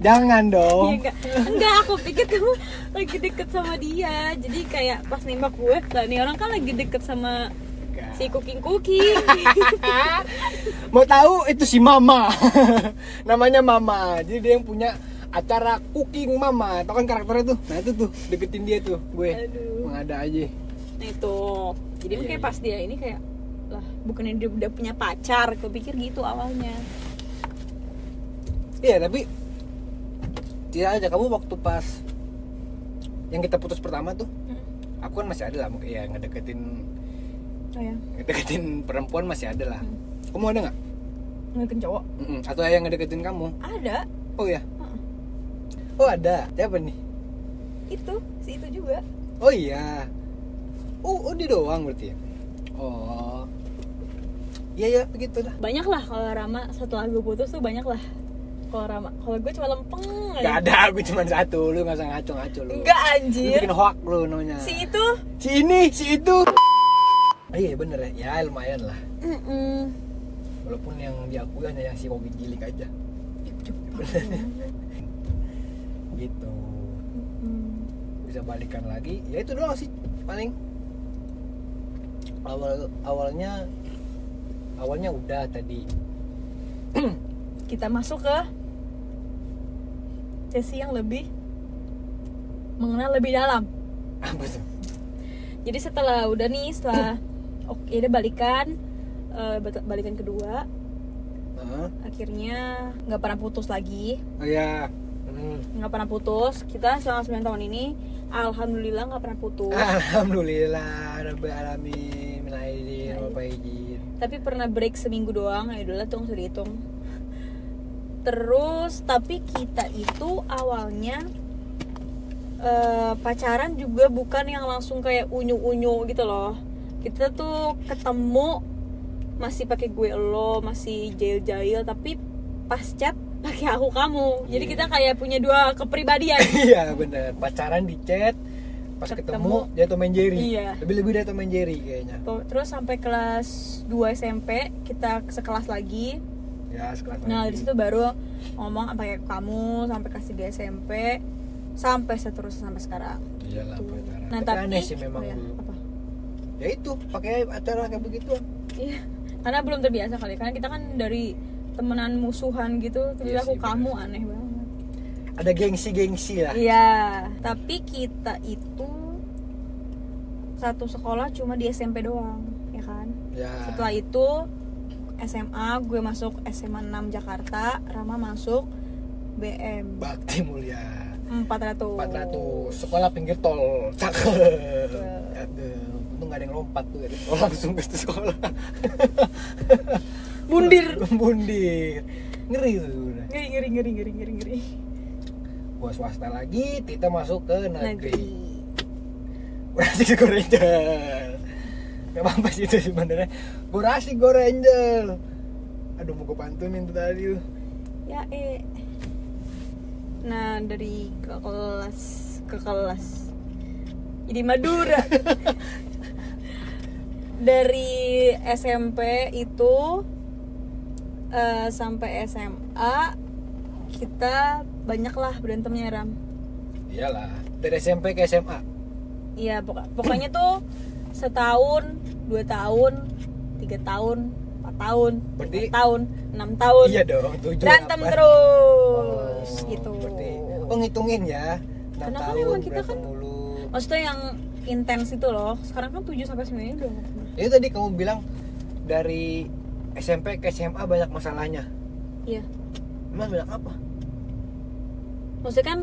jangan dong Iya enggak, enggak aku pikir kamu lagi deket sama dia Jadi kayak pas nembak gue, lah nih orang kan lagi deket sama Enggak. si Cooking Cooking mau tahu itu si mama namanya mama jadi dia yang punya acara cooking mama tau kan karakternya tuh nah itu tuh deketin dia tuh gue Aduh. Emang ada aja Nah itu, jadi Iya, kayak iya. pas dia ini kayak lah bukannya dia udah punya pacar, aku pikir gitu awalnya iya tapi tidak aja kamu waktu pas yang kita putus pertama tuh aku kan masih ada lah mungkin ya ngedeketin Oh ya, ngedeketin perempuan masih ada lah kamu ada nggak ngeliatin cowok? Mm-mm. atau yang ngedeketin kamu Ada, oh ya Heeh. oh ada siapa nih itu, si itu juga Oh iya. Oh, oh dia doang berarti ya. Oh. Iya ya begitu dah. banyak lah kalau Rama setelah gue putus tuh banyak lah kalau Rama kalau gue cuma lempeng Gak ada, aku cuma satu. Lu gak usah ngaco-ngaco lu. enggak Lu anjir bikin hoak lu namanya. si itu Si ini, si itu. Ah, iya bener ya. Ya lumayan lah. Mm-mm. Walaupun yang diakui hanya yang si Kogi Gilik aja. Gitu. Mm-mm. Bisa balikan lagi. Ya itu doang sih paling. Awal awalnya awalnya udah tadi. kita masuk ke sesi yang lebih mengenal lebih dalam Apa tuh? jadi setelah udah nih setelah oke udah balikan eh, bat- balikan kedua Heeh. akhirnya nggak pernah putus lagi Oh iya. Hmm. nggak pernah putus kita selama 9 tahun ini alhamdulillah nggak pernah putus Alhamdulillah Rabbil Alamin Minal aidin wal faizin. tapi pernah break seminggu doang ya udahlah tuh nggak usah dihitung terus tapi kita itu awalnya eh, pacaran juga bukan yang langsung kayak unyu unyu gitu loh kita tuh ketemu masih pakai gue lo masih jail jail tapi pas chat pakai aku kamu jadi Iya. kita kayak punya dua kepribadian Iya bener Pacaran di chat Pas ketemu, Ketemu. dia Tom and Jerry Iya. Lebih-lebih dia Tom and Jerry kayaknya terus sampai kelas 2 SMP kita sekelas lagi Ya sekelas Nah lagi. dari situ baru ngomong apa kayak kamu sampai kasih di SMP sampai seterusnya sampai sekarang. Iyalah Tuh. Iya pacaran Nah tapi tapi aneh sih memang oh ya, dulu apa? Ya itu pakai acara kayak begitu Iya. Karena belum terbiasa kali. Karena kita kan dari temenan musuhan gitu terus Iya aku sih, Ya. kamu aneh banget. Ada gengsi-gengsi lah Iya. Tapi kita itu satu sekolah cuma di SMP doang, ya kan? Ya Setelah itu SMA gue masuk SMA 6 Jakarta, Rama masuk BM Bakti mulia 400. 400 Sekolah pinggir tol Cakep Cakep. Cakep Untung gak ada yang lompat tuh dari sekolah langsung ke sekolah Bundir. bundir ngeri tuh sebenarnya. ngeri ngeri ngeri ngeri ngeri ngeri gua swasta lagi kita masuk ke negeri negeri Gorasik Go Ranger gak apa-apa sih itu sebenarnya Gorasik Go Ranger aduh mau gua pantunin tuh tadi tuh. ya eh nah dari ke kelas ke kelas jadi Madura dari SMP itu eh, sampai SMA kita banyaklah berantemnya Ram iyalah dari SMP ke SMA Iya pokok- pokoknya tuh setahun, dua tahun, tiga tahun, empat tahun, Berarti- lima tahun, enam tahun, iya dong tujuh berantem delapan. terus gitu. berarti oh ngitungin ya enam Karena kan tahun emang kita berantem kan- mulu Maksudnya yang intens itu loh. Sekarang kan 7 sampai 9 udah nggak pernah. itu Ya tadi kamu bilang dari SMP ke SMA banyak masalahnya Iya. emang banyak apa Maksudnya kan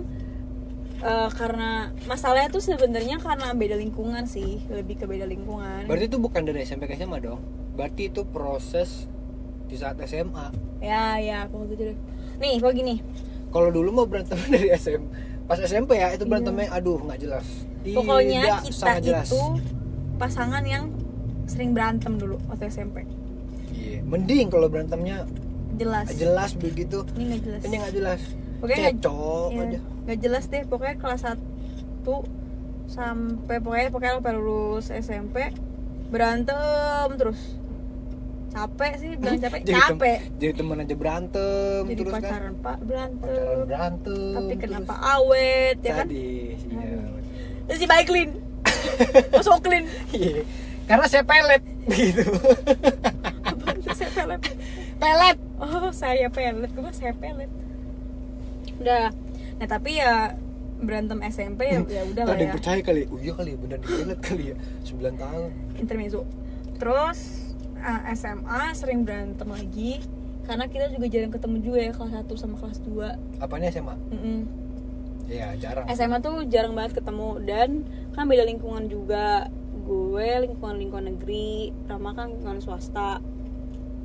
eh, karena masalahnya tuh sebenarnya karena beda lingkungan sih, lebih ke beda lingkungan. Berarti itu bukan dari SMP ke SMA dong. Berarti itu proses di saat SMA. Ya ya, aku gitu deh. Nih, kok gini. Kalau dulu mau berantem dari SMP pas SMP ya itu berantemnya aduh nggak jelas. Tidak Iya. Pokoknya kita sangat jelas. itu pasangan yang sering berantem dulu waktu SMP. Iya. Mending kalau berantemnya jelas jelas begitu ini nggak jelas ini nggak jelas Oh, Pokoknya nggak- cocok Iya, aja nggak jelas deh pokoknya kelas 1 sampai pokoknya pokoknya sampai lulus SMP berantem terus capek sih bilang capek Jadi tem- capek jadi temen aja berantem jadi terus kan pacaran pak berantem pacaran berantem tapi kenapa terus. awet ya kan sadis iya terus si Baiklin terus Oklin Iya. karena saya pelet gitu apa tuh saya pelet pelet oh saya pelet gue saya pelet udah nah tapi ya berantem SMP ya ya udah Ntar lah ada ya yang percaya kali oh iya kali ya bener di pelet kali ya 9 tahun intermezzo terus eh, SMA sering berantem lagi karena kita juga jarang ketemu juga ya kelas 1 sama kelas 2 apanya SMA ya jarang SMA tuh jarang banget ketemu dan kan beda lingkungan juga gue lingkungan lingkungan negeri Rama kan lingkungan swasta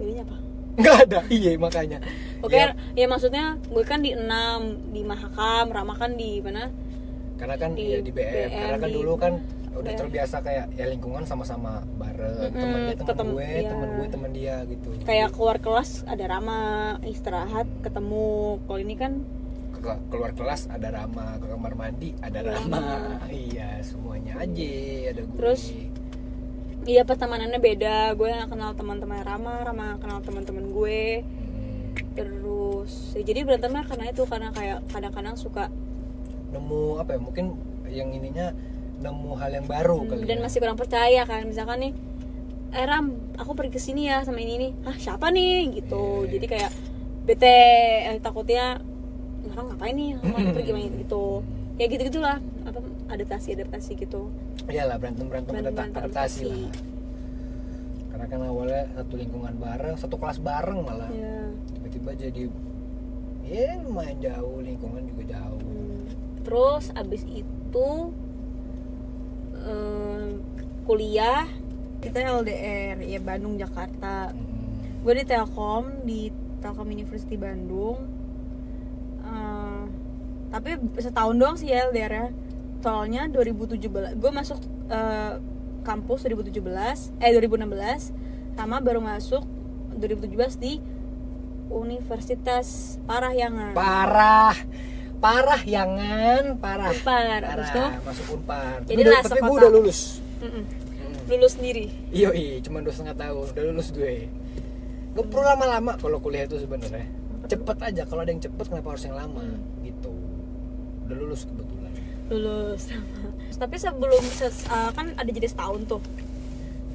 bedanya apa? nggak ada iya makanya Oke Iya, ya maksudnya gue kan di 6 di Mahakam Rama kan di mana karena kan di ya di BM, BM, karena kan di- dulu kan udah BM. terbiasa kayak ya lingkungan sama-sama bareng Mm-mm, temen dia temen ketemu- gue iya. temen gue temen dia gitu kayak keluar kelas ada Rama istirahat ketemu kalau ini kan Ke- ke- keluar kelas ada Rama ke kamar mandi ada Rama iya semuanya aja ada gue Terus? Iya pertemanannya beda, gue nggak kenal teman-teman Rama, Rama nggak kenal teman-teman gue. Hmm, Terus ya jadi berantemnya karena itu karena kayak kadang-kadang suka nemu apa ya mungkin yang ininya nemu hal yang baru kali Hmm, dan ya. masih kurang percaya kan misalkan nih eh Ram, aku pergi ke sini ya sama ini nih. Ah, siapa nih gitu. Iya. Jadi kayak bete eh, takutnya orang ngapain nih orang mau pergi main gitu. Ya gitu-gitulah apa adaptasi-adaptasi gitu. iyalah berantem berantem Berantem-berantem adaptasi adaptasi. lah karena kan awalnya satu lingkungan bareng satu kelas bareng malah Iya. tiba-tiba jadi ya lumayan jauh lingkungan juga jauh Hmm. Terus abis itu em, kuliah kita LDR ya Bandung Jakarta. Hmm. Gue di Telkom di Telkom University Bandung. Eh, tapi setahun doang sih ya LDR -nya. Soalnya 2017 gue masuk eh, kampus 2017 eh 2016 sama baru masuk 2017 di Universitas Parahyangan. parah parah yangan parah Unpar. Abis itu parah masuk unpar Jadi Udah- lah tapi gue sekota. udah lulus Mm-mm. Hmm. lulus sendiri iyo iya cuma dua setengah tahun udah lulus gue gak perlu lama-lama kalau kuliah itu sebenarnya cepet aja kalau ada yang cepet kenapa harus yang lama Hmm. gitu udah lulus kebetulan lulus tapi sebelum ses- uh, kan ada jadi setahun tuh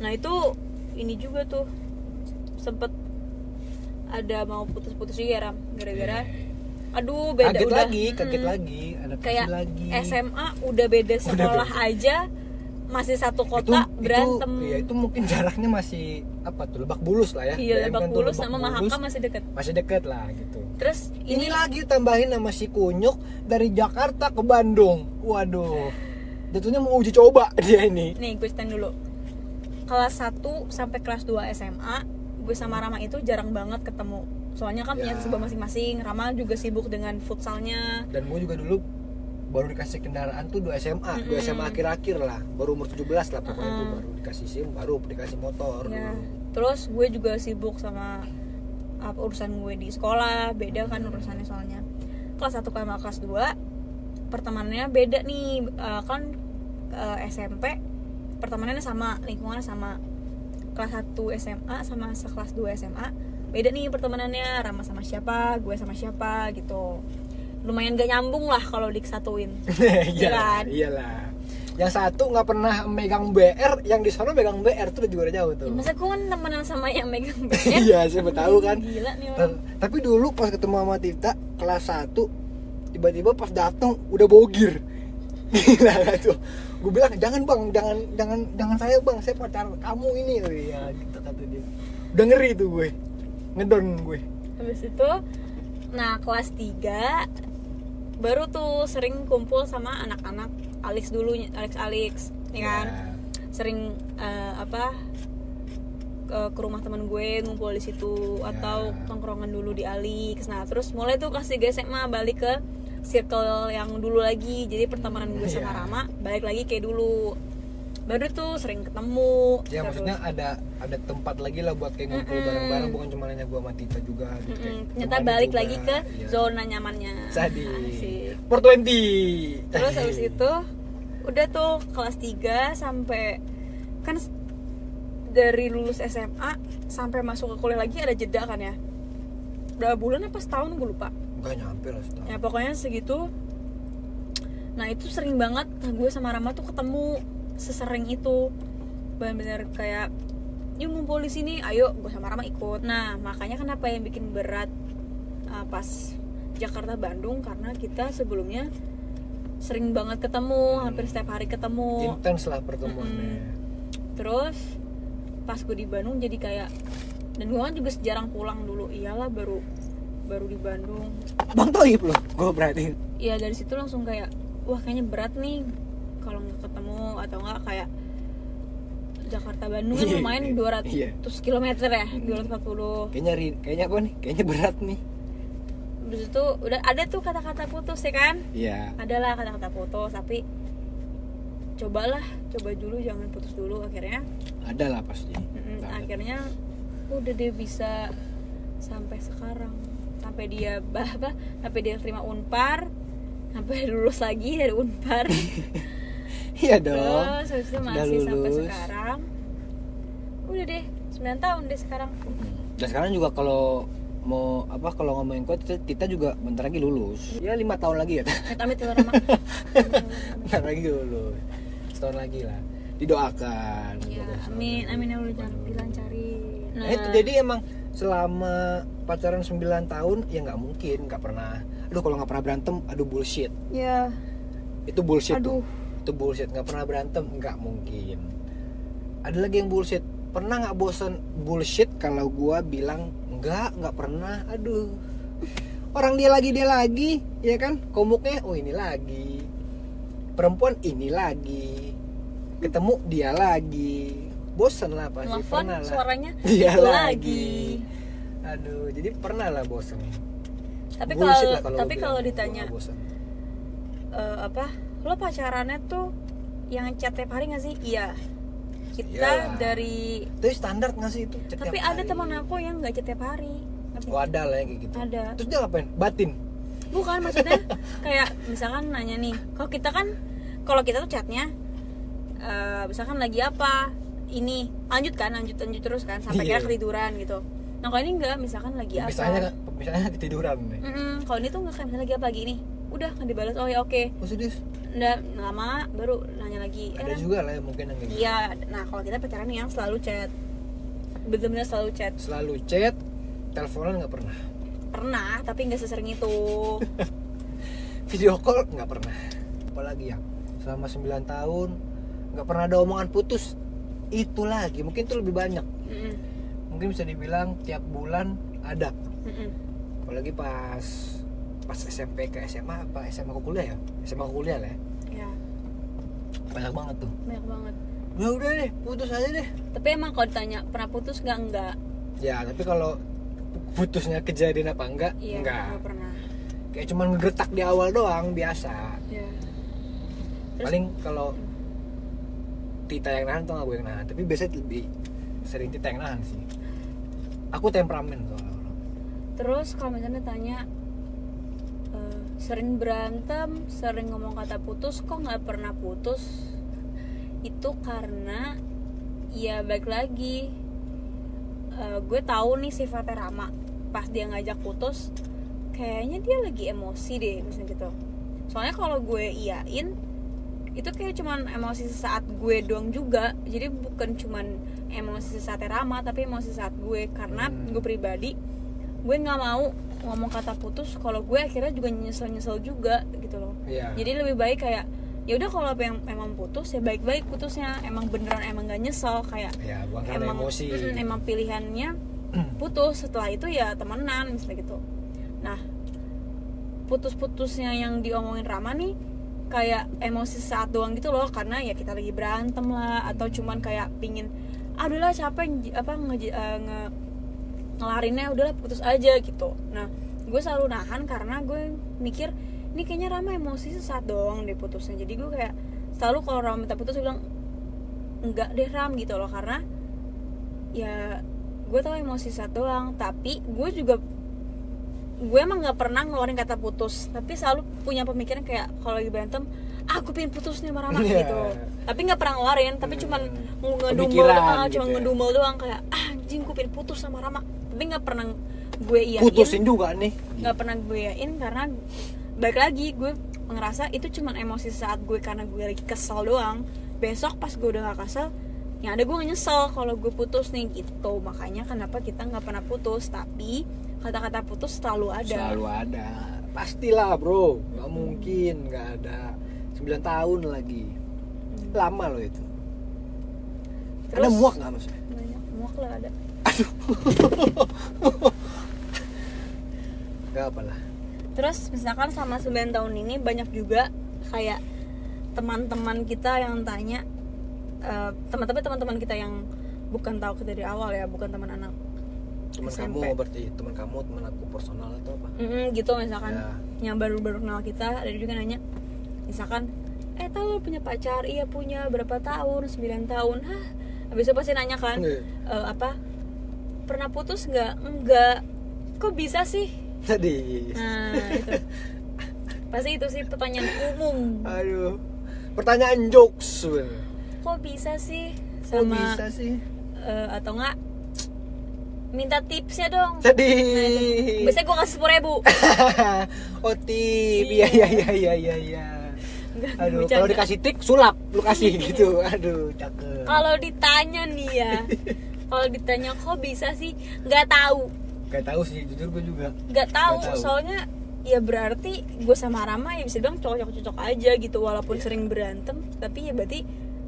nah itu ini juga tuh sempet ada mau putus-putus juga ram gara-gara Eh, aduh beda kaget udah Hmm. lagi kaget Mm-mm. lagi ada kayak lagi SMA udah beda sekolah aja masih satu kota berantem itu, ya itu mungkin jaraknya masih apa tuh lebak bulus lah ya iya BM Lebak kan tuh Bulus Lebak sama Bulus, Mahakam masih deket masih deket lah gitu terus ini ini lagi tambahin sama si kunyuk dari Jakarta ke Bandung waduh jatuhnya mau uji coba dia ini nih gue stand dulu kelas 1 sampai kelas 2 SMA gue sama Rama itu jarang banget ketemu soalnya kan punya Ya. sebuah masing-masing Rama juga sibuk dengan futsalnya dan gue juga dulu baru dikasih kendaraan tuh 2 SMA 2 Mm-mm. SMA akhir-akhir lah baru umur 17 lah pokoknya tuh Mm-mm. baru dikasih SIM baru dikasih motor ya dulu. terus gue juga sibuk sama apa, urusan gue di sekolah beda kan urusannya soalnya kelas 1 sama kelas 2 pertemanannya beda nih Eh, kan eh, SMP pertemanannya sama lingkungannya sama kelas 1 SMA sama sekelas 2 SMA beda nih pertemanannya Rama sama siapa gue sama siapa gitu lumayan gak nyambung lah kalau diksatuin iyalah Jalan. Iya iyalah yang satu nggak pernah megang BR yang di sana megang BR tuh juga udah jauh tuh Ya, masa gue kan temenan sama yang megang BR iya siapa tahu kan gila nih orang Ta- tapi dulu pas ketemu sama Tifta kelas 1 tiba-tiba pas datang udah bogir gila gak tuh gue bilang jangan bang jangan jangan jangan saya bang saya pacar kamu ini ya gitu kata dia udah ngeri tuh gue ngedon gue Habis itu nah kelas 3 baru tuh sering kumpul sama anak-anak Alex dulu Alex Alex ya kan Nah. sering eh, apa ke, ke rumah teman gue ngumpul di situ Ya. atau tongkrongan dulu di Alex nah terus mulai tuh kelas 3 SMA balik ke circle yang dulu lagi jadi pertemanan gue Ya. sama Rama balik lagi kayak dulu baru tuh sering ketemu ya terus- maksudnya ada ada tempat lagi lah buat kayak ngumpul Mm-mm. bareng-bareng bukan cuma nanya gua sama Tita juga gitu Mm-mm. kayak ternyata teman balik juga. lagi ke Iya. zona nyamannya Nah, Sadi Asik. Port 20 terus habis Iya. itu udah tuh kelas 3 sampai kan s- dari lulus SMA sampai masuk ke kuliah lagi ada jeda kan ya berapa bulan apa setahun gue lupa Enggak nyampe lah setahun ya pokoknya segitu nah itu sering banget gue sama Rama tuh ketemu sesering itu benar-benar kayak yuk ngumpul di sini ayo gue sama Rama ikut nah makanya kenapa yang bikin berat uh, pas Jakarta Bandung karena kita sebelumnya sering banget ketemu hampir setiap hari ketemu intens lah pertemuannya terus pas gue di Bandung jadi kayak dan gue kan juga jarang pulang dulu iyalah baru baru di Bandung Bang Toib loh gua berarti ya dari situ langsung kayak wah kayaknya berat nih kalau nggak ketemu atau nggak kayak Jakarta Bandung kan Iya, lumayan iya, 200 iya. km ya 240 kayaknya ri- kayaknya gua nih kayaknya berat nih Terus itu udah ada tuh kata-kata putus ya kan iya adalah kata-kata putus tapi cobalah coba dulu jangan putus dulu akhirnya ada lah pasti mm, Ada. akhirnya udah dia bisa sampai sekarang sampai dia bah- apa sampai dia terima unpar sampai lulus lagi dari unpar iya dong Terus habis itu Udah masih sampai lulus. sekarang Udah deh, 9 tahun deh sekarang dan sekarang juga kalau mau apa kalau ngomongin kuat Tita- Tita juga bentar lagi lulus ya lima tahun lagi ya Amit amit ya Rama bentar lagi lulus gitu setahun lagi lah didoakan Ya, Semoga setahun amin, lagi. amin ya Allah jangan dilancarin Nah, itu jadi emang selama pacaran 9 tahun ya nggak mungkin nggak pernah aduh kalau nggak pernah berantem aduh bullshit Ya, itu bullshit tuh aduh itu bullshit nggak pernah berantem nggak mungkin ada lagi yang bullshit pernah nggak bosen bullshit kalau gua bilang nggak nggak pernah aduh orang dia lagi dia lagi ya kan komuknya oh ini lagi perempuan ini lagi ketemu dia lagi bosen lah pasti Telepon pernah lah suaranya dia itu lagi. lagi. aduh jadi pernah lah bosen Bullshit Tapi kalau lah gitu. gua tapi bilang, kalau "Gua ditanya nggak bosen eh, apa? Lo pacarannya tuh yang chat tiap hari gak sih? Iya. Iyalah. Kita dari itu standar nggak sih itu Setiap tapi ada Iya. hari. teman aku yang nggak chat tiap hari. Ngerti? Oh ada lah yang kayak gitu. Ada. Terus dia ngapain? Batin. Bukan maksudnya kayak misalkan nanya nih, kalau kita kan kalau kita tuh chatnya eh, misalkan lagi apa ini lanjut kan lanjut lanjut terus kan sampai Iya. kita ketiduran gitu. Nah kalau ini enggak misalkan lagi apa? Misalnya misalnya ketiduran nih. Mm-mm, kalau ini tuh enggak kayak misalnya lagi apa gini, udah nggak dibalas oh ya oke, Oh serius? udah lama baru nanya lagi. Eh, Ada Ran, juga lah yang mungkin yang kayak gitu. Iya, nah kalau kita pacaran yang selalu chat, bener-bener selalu chat. Selalu chat, teleponan nggak pernah. Pernah tapi nggak sesering itu. Video call nggak pernah. Apalagi ya selama 9 tahun nggak pernah ada omongan putus. Itu lagi mungkin itu lebih banyak. Mm-mm, Mungkin bisa dibilang tiap bulan ada. mm-mm. Apalagi pas pas SMP ke SMA apa SMA ke kuliah ya? SMA ke kuliah lah ya. Ya, Banyak banget tuh. banyak banget. Ya udah deh, putus aja deh. tapi emang kalau ditanya pernah putus nggak enggak Ya, tapi kalau putusnya kejadian apa enggak? iya enggak. nggak pernah Kayak cuman ngegetak di awal doang biasa. Iya. Terus- Paling kalau Tita yang nahan tuh nggak gue yang nahan, tapi biasanya lebih sering Tita yang nahan sih. Aku temperamen soalnya. orang. terus kalau misalnya tanya eh, sering berantem sering ngomong kata putus kok nggak pernah putus itu karena ya baik lagi eh, gue tahu nih sifatnya Rama pas dia ngajak putus kayaknya dia lagi emosi deh misalnya gitu soalnya kalau gue iyain itu kayak cuman emosi sesaat gue doang juga jadi bukan cuman emosi sesaat Rama tapi emosi saat gue karena Hmm. gue pribadi gue nggak mau ngomong kata putus kalau gue akhirnya juga nyesel nyesel juga gitu loh Iya. jadi lebih baik kayak ya udah kalau apa yang emang putus ya baik baik putusnya emang beneran emang gak nyesel kayak ya, bukan karena emang emosi. gitu. mm, emang pilihannya putus setelah itu ya temenan misalnya gitu nah putus-putusnya yang diomongin Rama nih kayak emosi saat doang gitu loh karena ya kita lagi berantem lah atau cuman kayak pingin aduh lah capek nge- apa nge, eh, nge- ngelarinnya udahlah putus aja gitu nah gue selalu nahan karena gue mikir ini kayaknya Rama emosi sesaat doang deh putusnya jadi gue kayak selalu kalau Rama minta putus gue bilang enggak deh ram gitu loh karena ya gue tau emosi satu doang tapi gue juga gue emang nggak pernah ngeluarin kata putus tapi selalu punya pemikiran kayak kalau lagi berantem ah gue pengen putus nih marah Iya. gitu tapi nggak pernah ngeluarin tapi Hmm. cuman ngedumel Pemikiran doang gitu cuma ya. ngedumel doang kayak ah anjing gue pengen putus sama Rama tapi nggak pernah gue iyain putusin juga nih iya, nggak pernah gue iyain karena balik lagi gue ngerasa itu cuman emosi saat gue karena gue lagi kesel doang besok pas gue udah gak kesel yang ada gue nyesel kalau gue putus nih gitu makanya kenapa kita nggak pernah putus tapi kata-kata putus selalu ada selalu ada pastilah bro nggak mungkin nggak ada 9 tahun lagi Hmm. lama loh itu ada Terus- muak nggak maksudnya banyak muak lah ada nggak apalah terus misalkan sama 9 tahun ini banyak juga kayak teman-teman kita yang tanya eh, teman-teman teman-teman kita yang bukan tahu dari awal ya bukan teman anak teman SMP. kamu berarti teman kamu teman aku personal atau apa Mm, gitu misalkan Ya. yang baru-baru kenal kita ada juga nanya misalkan eh tahu lu punya pacar iya punya berapa tahun 9 tahun hah habis itu pasti nanya kan Iya. "Eh, apa pernah putus nggak enggak kok bisa sih tadi nah itu pasti itu sih pertanyaan umum aduh pertanyaan jokes sebenarnya. kok bisa sih Kok sama bisa sih eh, atau enggak minta tipsnya dong tadi biasanya gue kasih sepuluh ribu oh tip iya iya iya iya iya iya. aduh kalau dikasih tip sulap lu kasih gitu aduh cakep kalau ditanya nih ya kalau ditanya kok bisa sih nggak tahu Gak tahu sih, jujur gue juga. nggak tahu Nggak tahu. soalnya ya berarti gue sama Rama ya bisa bilang cocok-cocok aja gitu walaupun Iya. sering berantem tapi ya berarti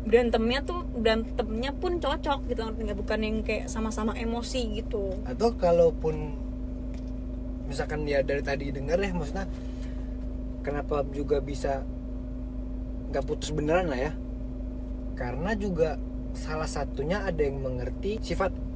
berantemnya tuh berantemnya pun cocok gitu ngerti nggak bukan yang kayak sama-sama emosi gitu Atau kalaupun misalkan ya dari tadi dengar ya maksudnya kenapa juga bisa nggak putus beneran lah ya? Karena juga salah satunya ada yang mengerti sifat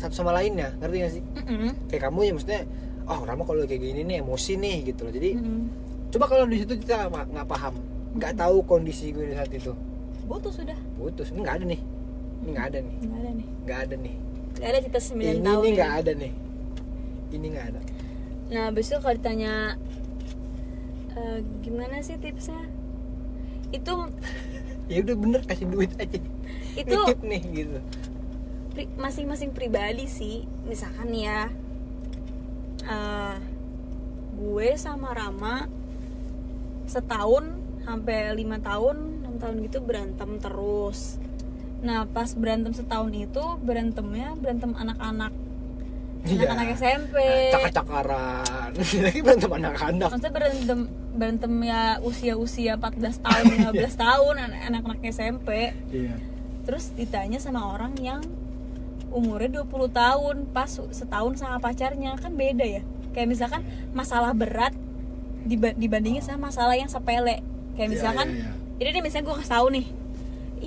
satu sama lainnya, ngerti gak sih? Mm-mm. Kayak kamu ya maksudnya, oh Rama kalau kayak gini nih emosi nih gitu loh. Jadi Mm-mm. coba kalau di situ kita nggak nggak paham, nggak tahu kondisi gue di saat itu, Putus sudah putus ini nggak ada nih, ini nggak ada nih, nggak ada nih nggak ada nih. nggak ada kita 9 ini tahun nih ini. nggak ada nih ini nggak ada nah abis itu kalau ditanya "Eh, gimana sih tipsnya itu ya udah bener kasih duit aja itu Nitip nih gitu pri- masing-masing pribadi sih misalkan nih ya eh, gue sama Rama setahun sampai lima tahun enam tahun gitu berantem terus nah pas berantem setahun itu berantemnya berantem anak-anak Iya. anak-anak SMP cakar-cakaran Nah, lagi berantem anak-anak maksudnya berantem berantem ya usia-usia 14 tahun 15 tahun an- anak-anak SMP iya terus ditanya sama orang yang umurnya 20 tahun pas setahun sama pacarnya kan beda ya kayak misalkan masalah berat diba- dibandingin sama masalah yang sepele kayak Iya, misalkan iya, jadi deh misalnya gue kasih tahu nih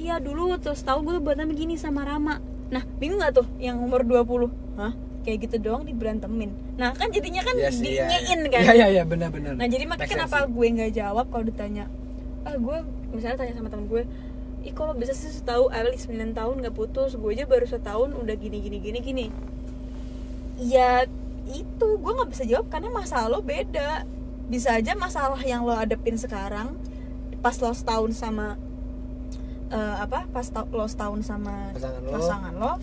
iya dulu terus tahu gue berantem begini sama Rama nah bingung nggak tuh yang umur 20 hah kayak gitu doang diberantemin nah kan jadinya kan Iya sih, iya, dinyein iya. kan iya iya iya benar-benar Nah jadi makanya Make sense kenapa sih. gue nggak jawab kalau ditanya ah gue misalnya tanya sama temen gue Ih kalau bisa sih setahu Ali 9 tahun nggak putus Gue aja baru setahun udah gini gini gini gini Ya itu gue nggak bisa jawab karena masalah lo beda Bisa aja masalah yang lo hadepin sekarang Pas lo setahun sama eh, apa pas ta- lo setahun sama pasangan lo pasangan lo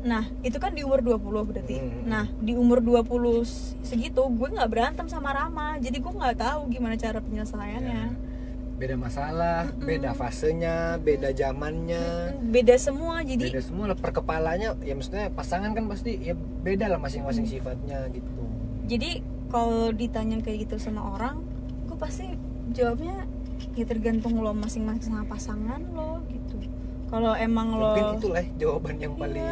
Nah, itu kan di umur 20 berarti. Hmm. Nah, di umur 20 s- segitu gue nggak berantem sama Rama. Jadi gue nggak tahu gimana cara penyelesaiannya. Ya. beda masalah Mm-mm. beda fasenya beda zamannya Mm, Beda semua. Ya. Jadi beda semua lah perkepalanya ya maksudnya pasangan kan pasti ya beda lah masing-masing Mm. sifatnya gitu jadi kalau ditanya kayak gitu sama orang, gue pasti jawabnya ya tergantung lo masing-masing sama pasangan lo gitu. Kalau emang lo Ya mungkin itulah jawaban yang Iya. paling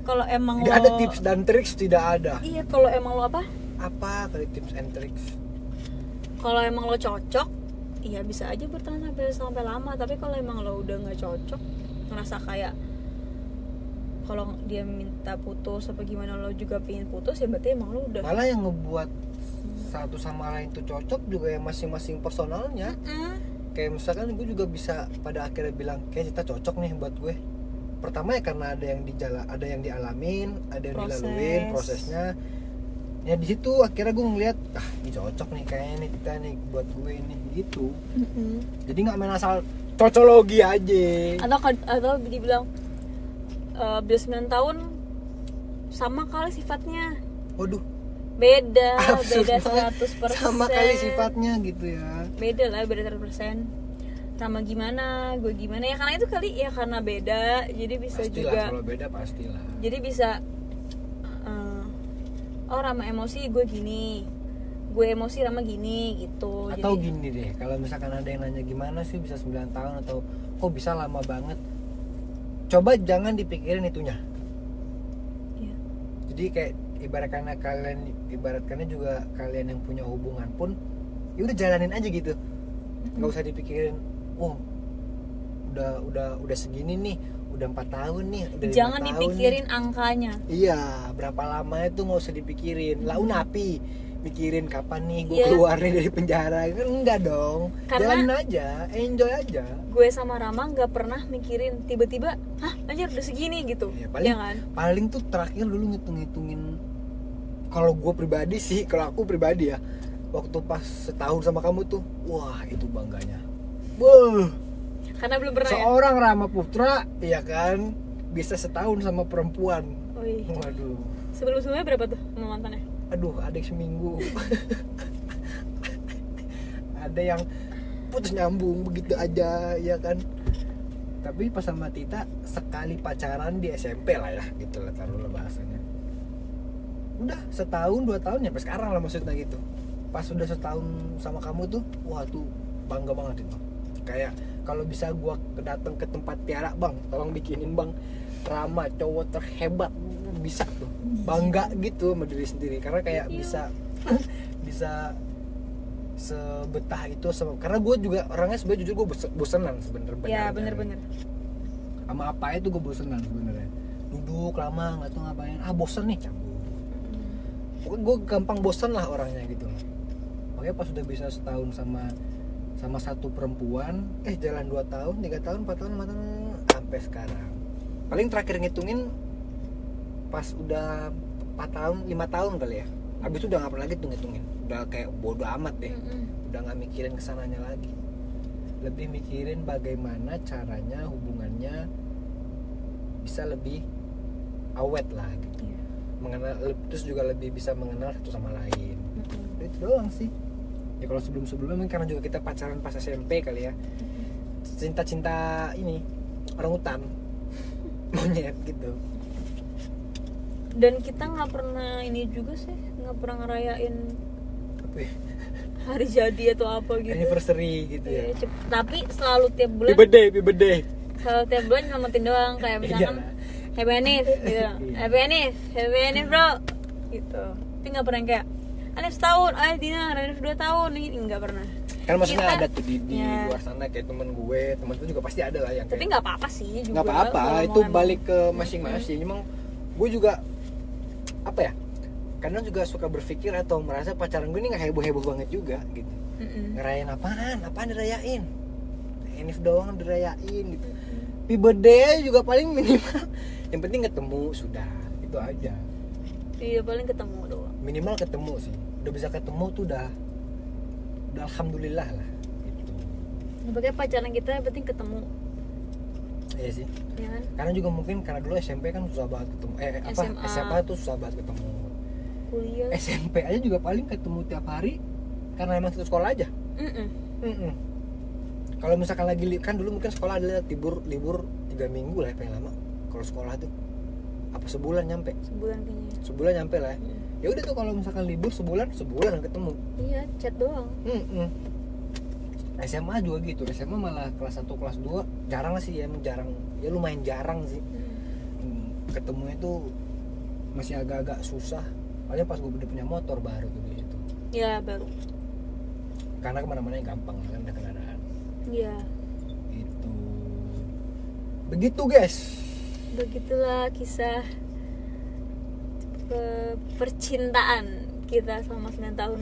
kalau emang tidak lo ada tips dan triks tidak ada Iya, kalau emang lo apa? apa kali tips and tricks Kalau emang lo cocok, ya bisa aja bertahan sampai sampai lama. Tapi kalau emang lo udah nggak cocok, ngerasa kayak kalau dia minta putus apa gimana lo juga pengen putus ya berarti emang lo udah malah yang ngebuat satu sama lain tuh cocok juga ya masing-masing personalnya Mm-mm. kayak kayak misalkan gue juga bisa pada akhirnya bilang kayak kita cocok nih buat gue pertama ya karena ada yang dijala ada yang dialamin ada yang Proses. dilaluin prosesnya ya di situ akhirnya gue ngeliat ah ini cocok nih kayaknya nih kita nih buat gue nih gitu jadi nggak main asal cocologi aja atau kad- atau dibilang eh 29 tahun sama kali sifatnya waduh beda absurd Ya, beda banget. 100 persen sama kali sifatnya gitu ya beda lah beda 100 persen sama gimana gue gimana ya karena itu kali ya karena beda jadi bisa pastilah juga kalau beda pastilah jadi bisa eh, oh Rama emosi gue gini gue emosi Rama gini gitu atau Jadi, gini deh kalau misalkan ada yang nanya gimana sih bisa 9 tahun atau kok bisa lama banget coba jangan dipikirin itunya Iya. jadi kayak ibaratkannya kalian ibaratkannya juga kalian yang punya hubungan pun ya udah jalanin aja gitu nggak usah dipikirin oh udah udah udah segini nih udah empat tahun nih udah lima jangan tahun nih." dipikirin angkanya Iya, berapa lamanya tuh nggak usah dipikirin. Lah unapi mikirin kapan nih gue Iya. keluar nih dari penjara kan enggak dong Karena- jalanin aja enjoy aja gue sama Rama nggak pernah mikirin tiba-tiba hah anjir udah segini gitu Iya, ya, paling- kan paling tuh terakhir dulu ngitung-ngitungin kalau gue pribadi sih kalau aku pribadi ya waktu pas setahun sama kamu tuh wah itu bangganya Wuh, karena belum pernah ya seorang Rama Putra ya kan bisa setahun sama perempuan Wih. waduh sebelum sebelumnya berapa tuh sama mantannya aduh adik seminggu ada yang putus nyambung begitu aja ya kan tapi pas sama Tita sekali pacaran di SMP lah ya gitu lah taruh lah bahasanya udah setahun dua tahun ya sekarang lah maksudnya gitu pas udah setahun sama kamu tuh wah tuh bangga banget itu kayak kalau bisa gua datang ke tempat Tiara bang tolong bikinin bang Rama cowok terhebat bisa tuh bangga gitu sama diri sendiri karena kayak Iya. bisa bisa sebetah itu sama karena gue juga orangnya sebenarnya jujur gue bosenan sebenarnya ya banyak- bener-bener sama apa itu gue bosenan sebenarnya duduk lama nggak tahu ngapain ah bosen nih cabut pokoknya gue gampang bosan lah orangnya gitu loh makanya pas udah bisa setahun sama sama satu perempuan eh jalan 2 tahun tiga tahun 4 tahun 5 tahun sampai sekarang paling terakhir ngitungin pas udah 4 tahun 5 tahun kali ya habis itu udah nggak pernah lagi tuh ngitungin udah kayak bodo amat deh Mm-mm. udah nggak mikirin kesananya lagi lebih mikirin bagaimana caranya hubungannya bisa lebih awet lah gitu Iya. mengenal le- terus juga lebih bisa mengenal satu sama lain Mm-mm. itu doang sih ya kalau sebelum sebelumnya karena juga kita pacaran pas SMP kali ya cinta cinta ini orang hutan monyet gitu dan kita nggak pernah ini juga sih nggak pernah ngerayain tapi hari jadi atau apa gitu anniversary gitu ya Iya, cep- tapi selalu tiap bulan happy birthday happy birthday selalu tiap bulan nyelamatin doang kayak misalkan Iyalah. happy Anif gitu Iya. happy Anif happy Anif bro gitu tapi nggak pernah yang kayak Anif setahun Anif Dina Anif dua tahun ini nggak pernah kan maksudnya Kita- ada tuh di, di Iya. luar sana kayak temen gue temen gue juga pasti ada lah yang tapi kayak nggak apa-apa sih juga nggak apa-apa kalau itu mau emang- balik ke masing-masing emang gue juga apa ya kadang juga suka berpikir atau merasa pacaran gue ini nggak heboh heboh banget juga gitu Mm-mm. ngerayain apaan apaan dirayain Enif doang dirayain gitu Happy birthday juga paling minimal yang penting ketemu sudah itu aja iya paling ketemu doang minimal ketemu sih udah bisa ketemu tuh udah udah alhamdulillah lah gitu sebagai pacaran kita yang penting ketemu iya sih ya kan karena juga mungkin karena dulu SMP kan susah banget ketemu eh apa SMA. SMA tuh susah banget ketemu kuliah SMP aja juga paling ketemu tiap hari karena emang satu sekolah aja. Mm-mm. Mm-mm. Kalau misalkan lagi li- kan dulu mungkin sekolah adalah libur libur tiga minggu lah ya paling lama. Kalau sekolah tuh apa sebulan nyampe? sebulan kayaknya Sebulan nyampe lah. ya. Mm. Ya udah tuh kalau misalkan libur sebulan sebulan kan ketemu. iya chat doang Mm-mm. SMA juga gitu. SMA malah kelas 1 kelas 2 jarang lah sih ya emang jarang. Ya lumayan jarang sih. Hmm, Ketemu itu masih agak-agak susah. Paling pas gue udah punya motor baru tuh di situ. ya baru karena kemana-mana yang gampang kan ada kendaraan ya itu begitu guys begitulah kisah pe- percintaan kita selama 9 tahun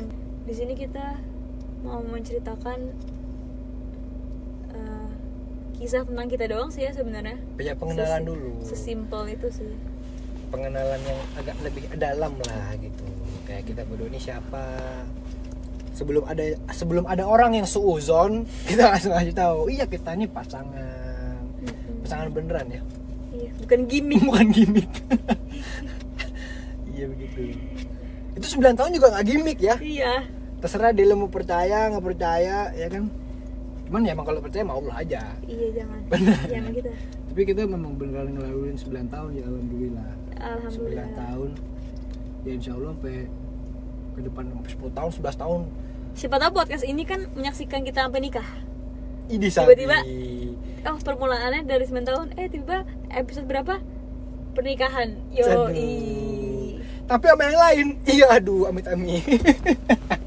di sini kita mau menceritakan eh, kisah tentang kita doang sih ya sebenarnya banyak pengenalan Sesi- dulu sesimpel itu sih pengenalan yang agak lebih dalam lah gitu kayak kita berdua ini siapa sebelum ada sebelum ada orang yang suuzon kita langsung kasih tahu iya kita ini pasangan Mm-mm. pasangan beneran ya Iya, bukan gimmick bukan gimmick iya begitu itu 9 tahun juga nggak gimmick ya iya terserah dia mau percaya nggak percaya ya kan cuman ya emang kalau percaya mau Allah aja iya jangan Benar. jangan gitu. kita tapi kita memang beneran ngelaluin 9 tahun ya alhamdulillah 9 alhamdulillah tahun ya insya Allah sampai ke depan sampai 10 tahun 11 tahun siapa tahu podcast ini kan menyaksikan kita sampai nikah ini Tiba-tiba. oh permulaannya dari 9 tahun eh tiba episode berapa pernikahan yo tapi sama yang lain iya aduh amit amit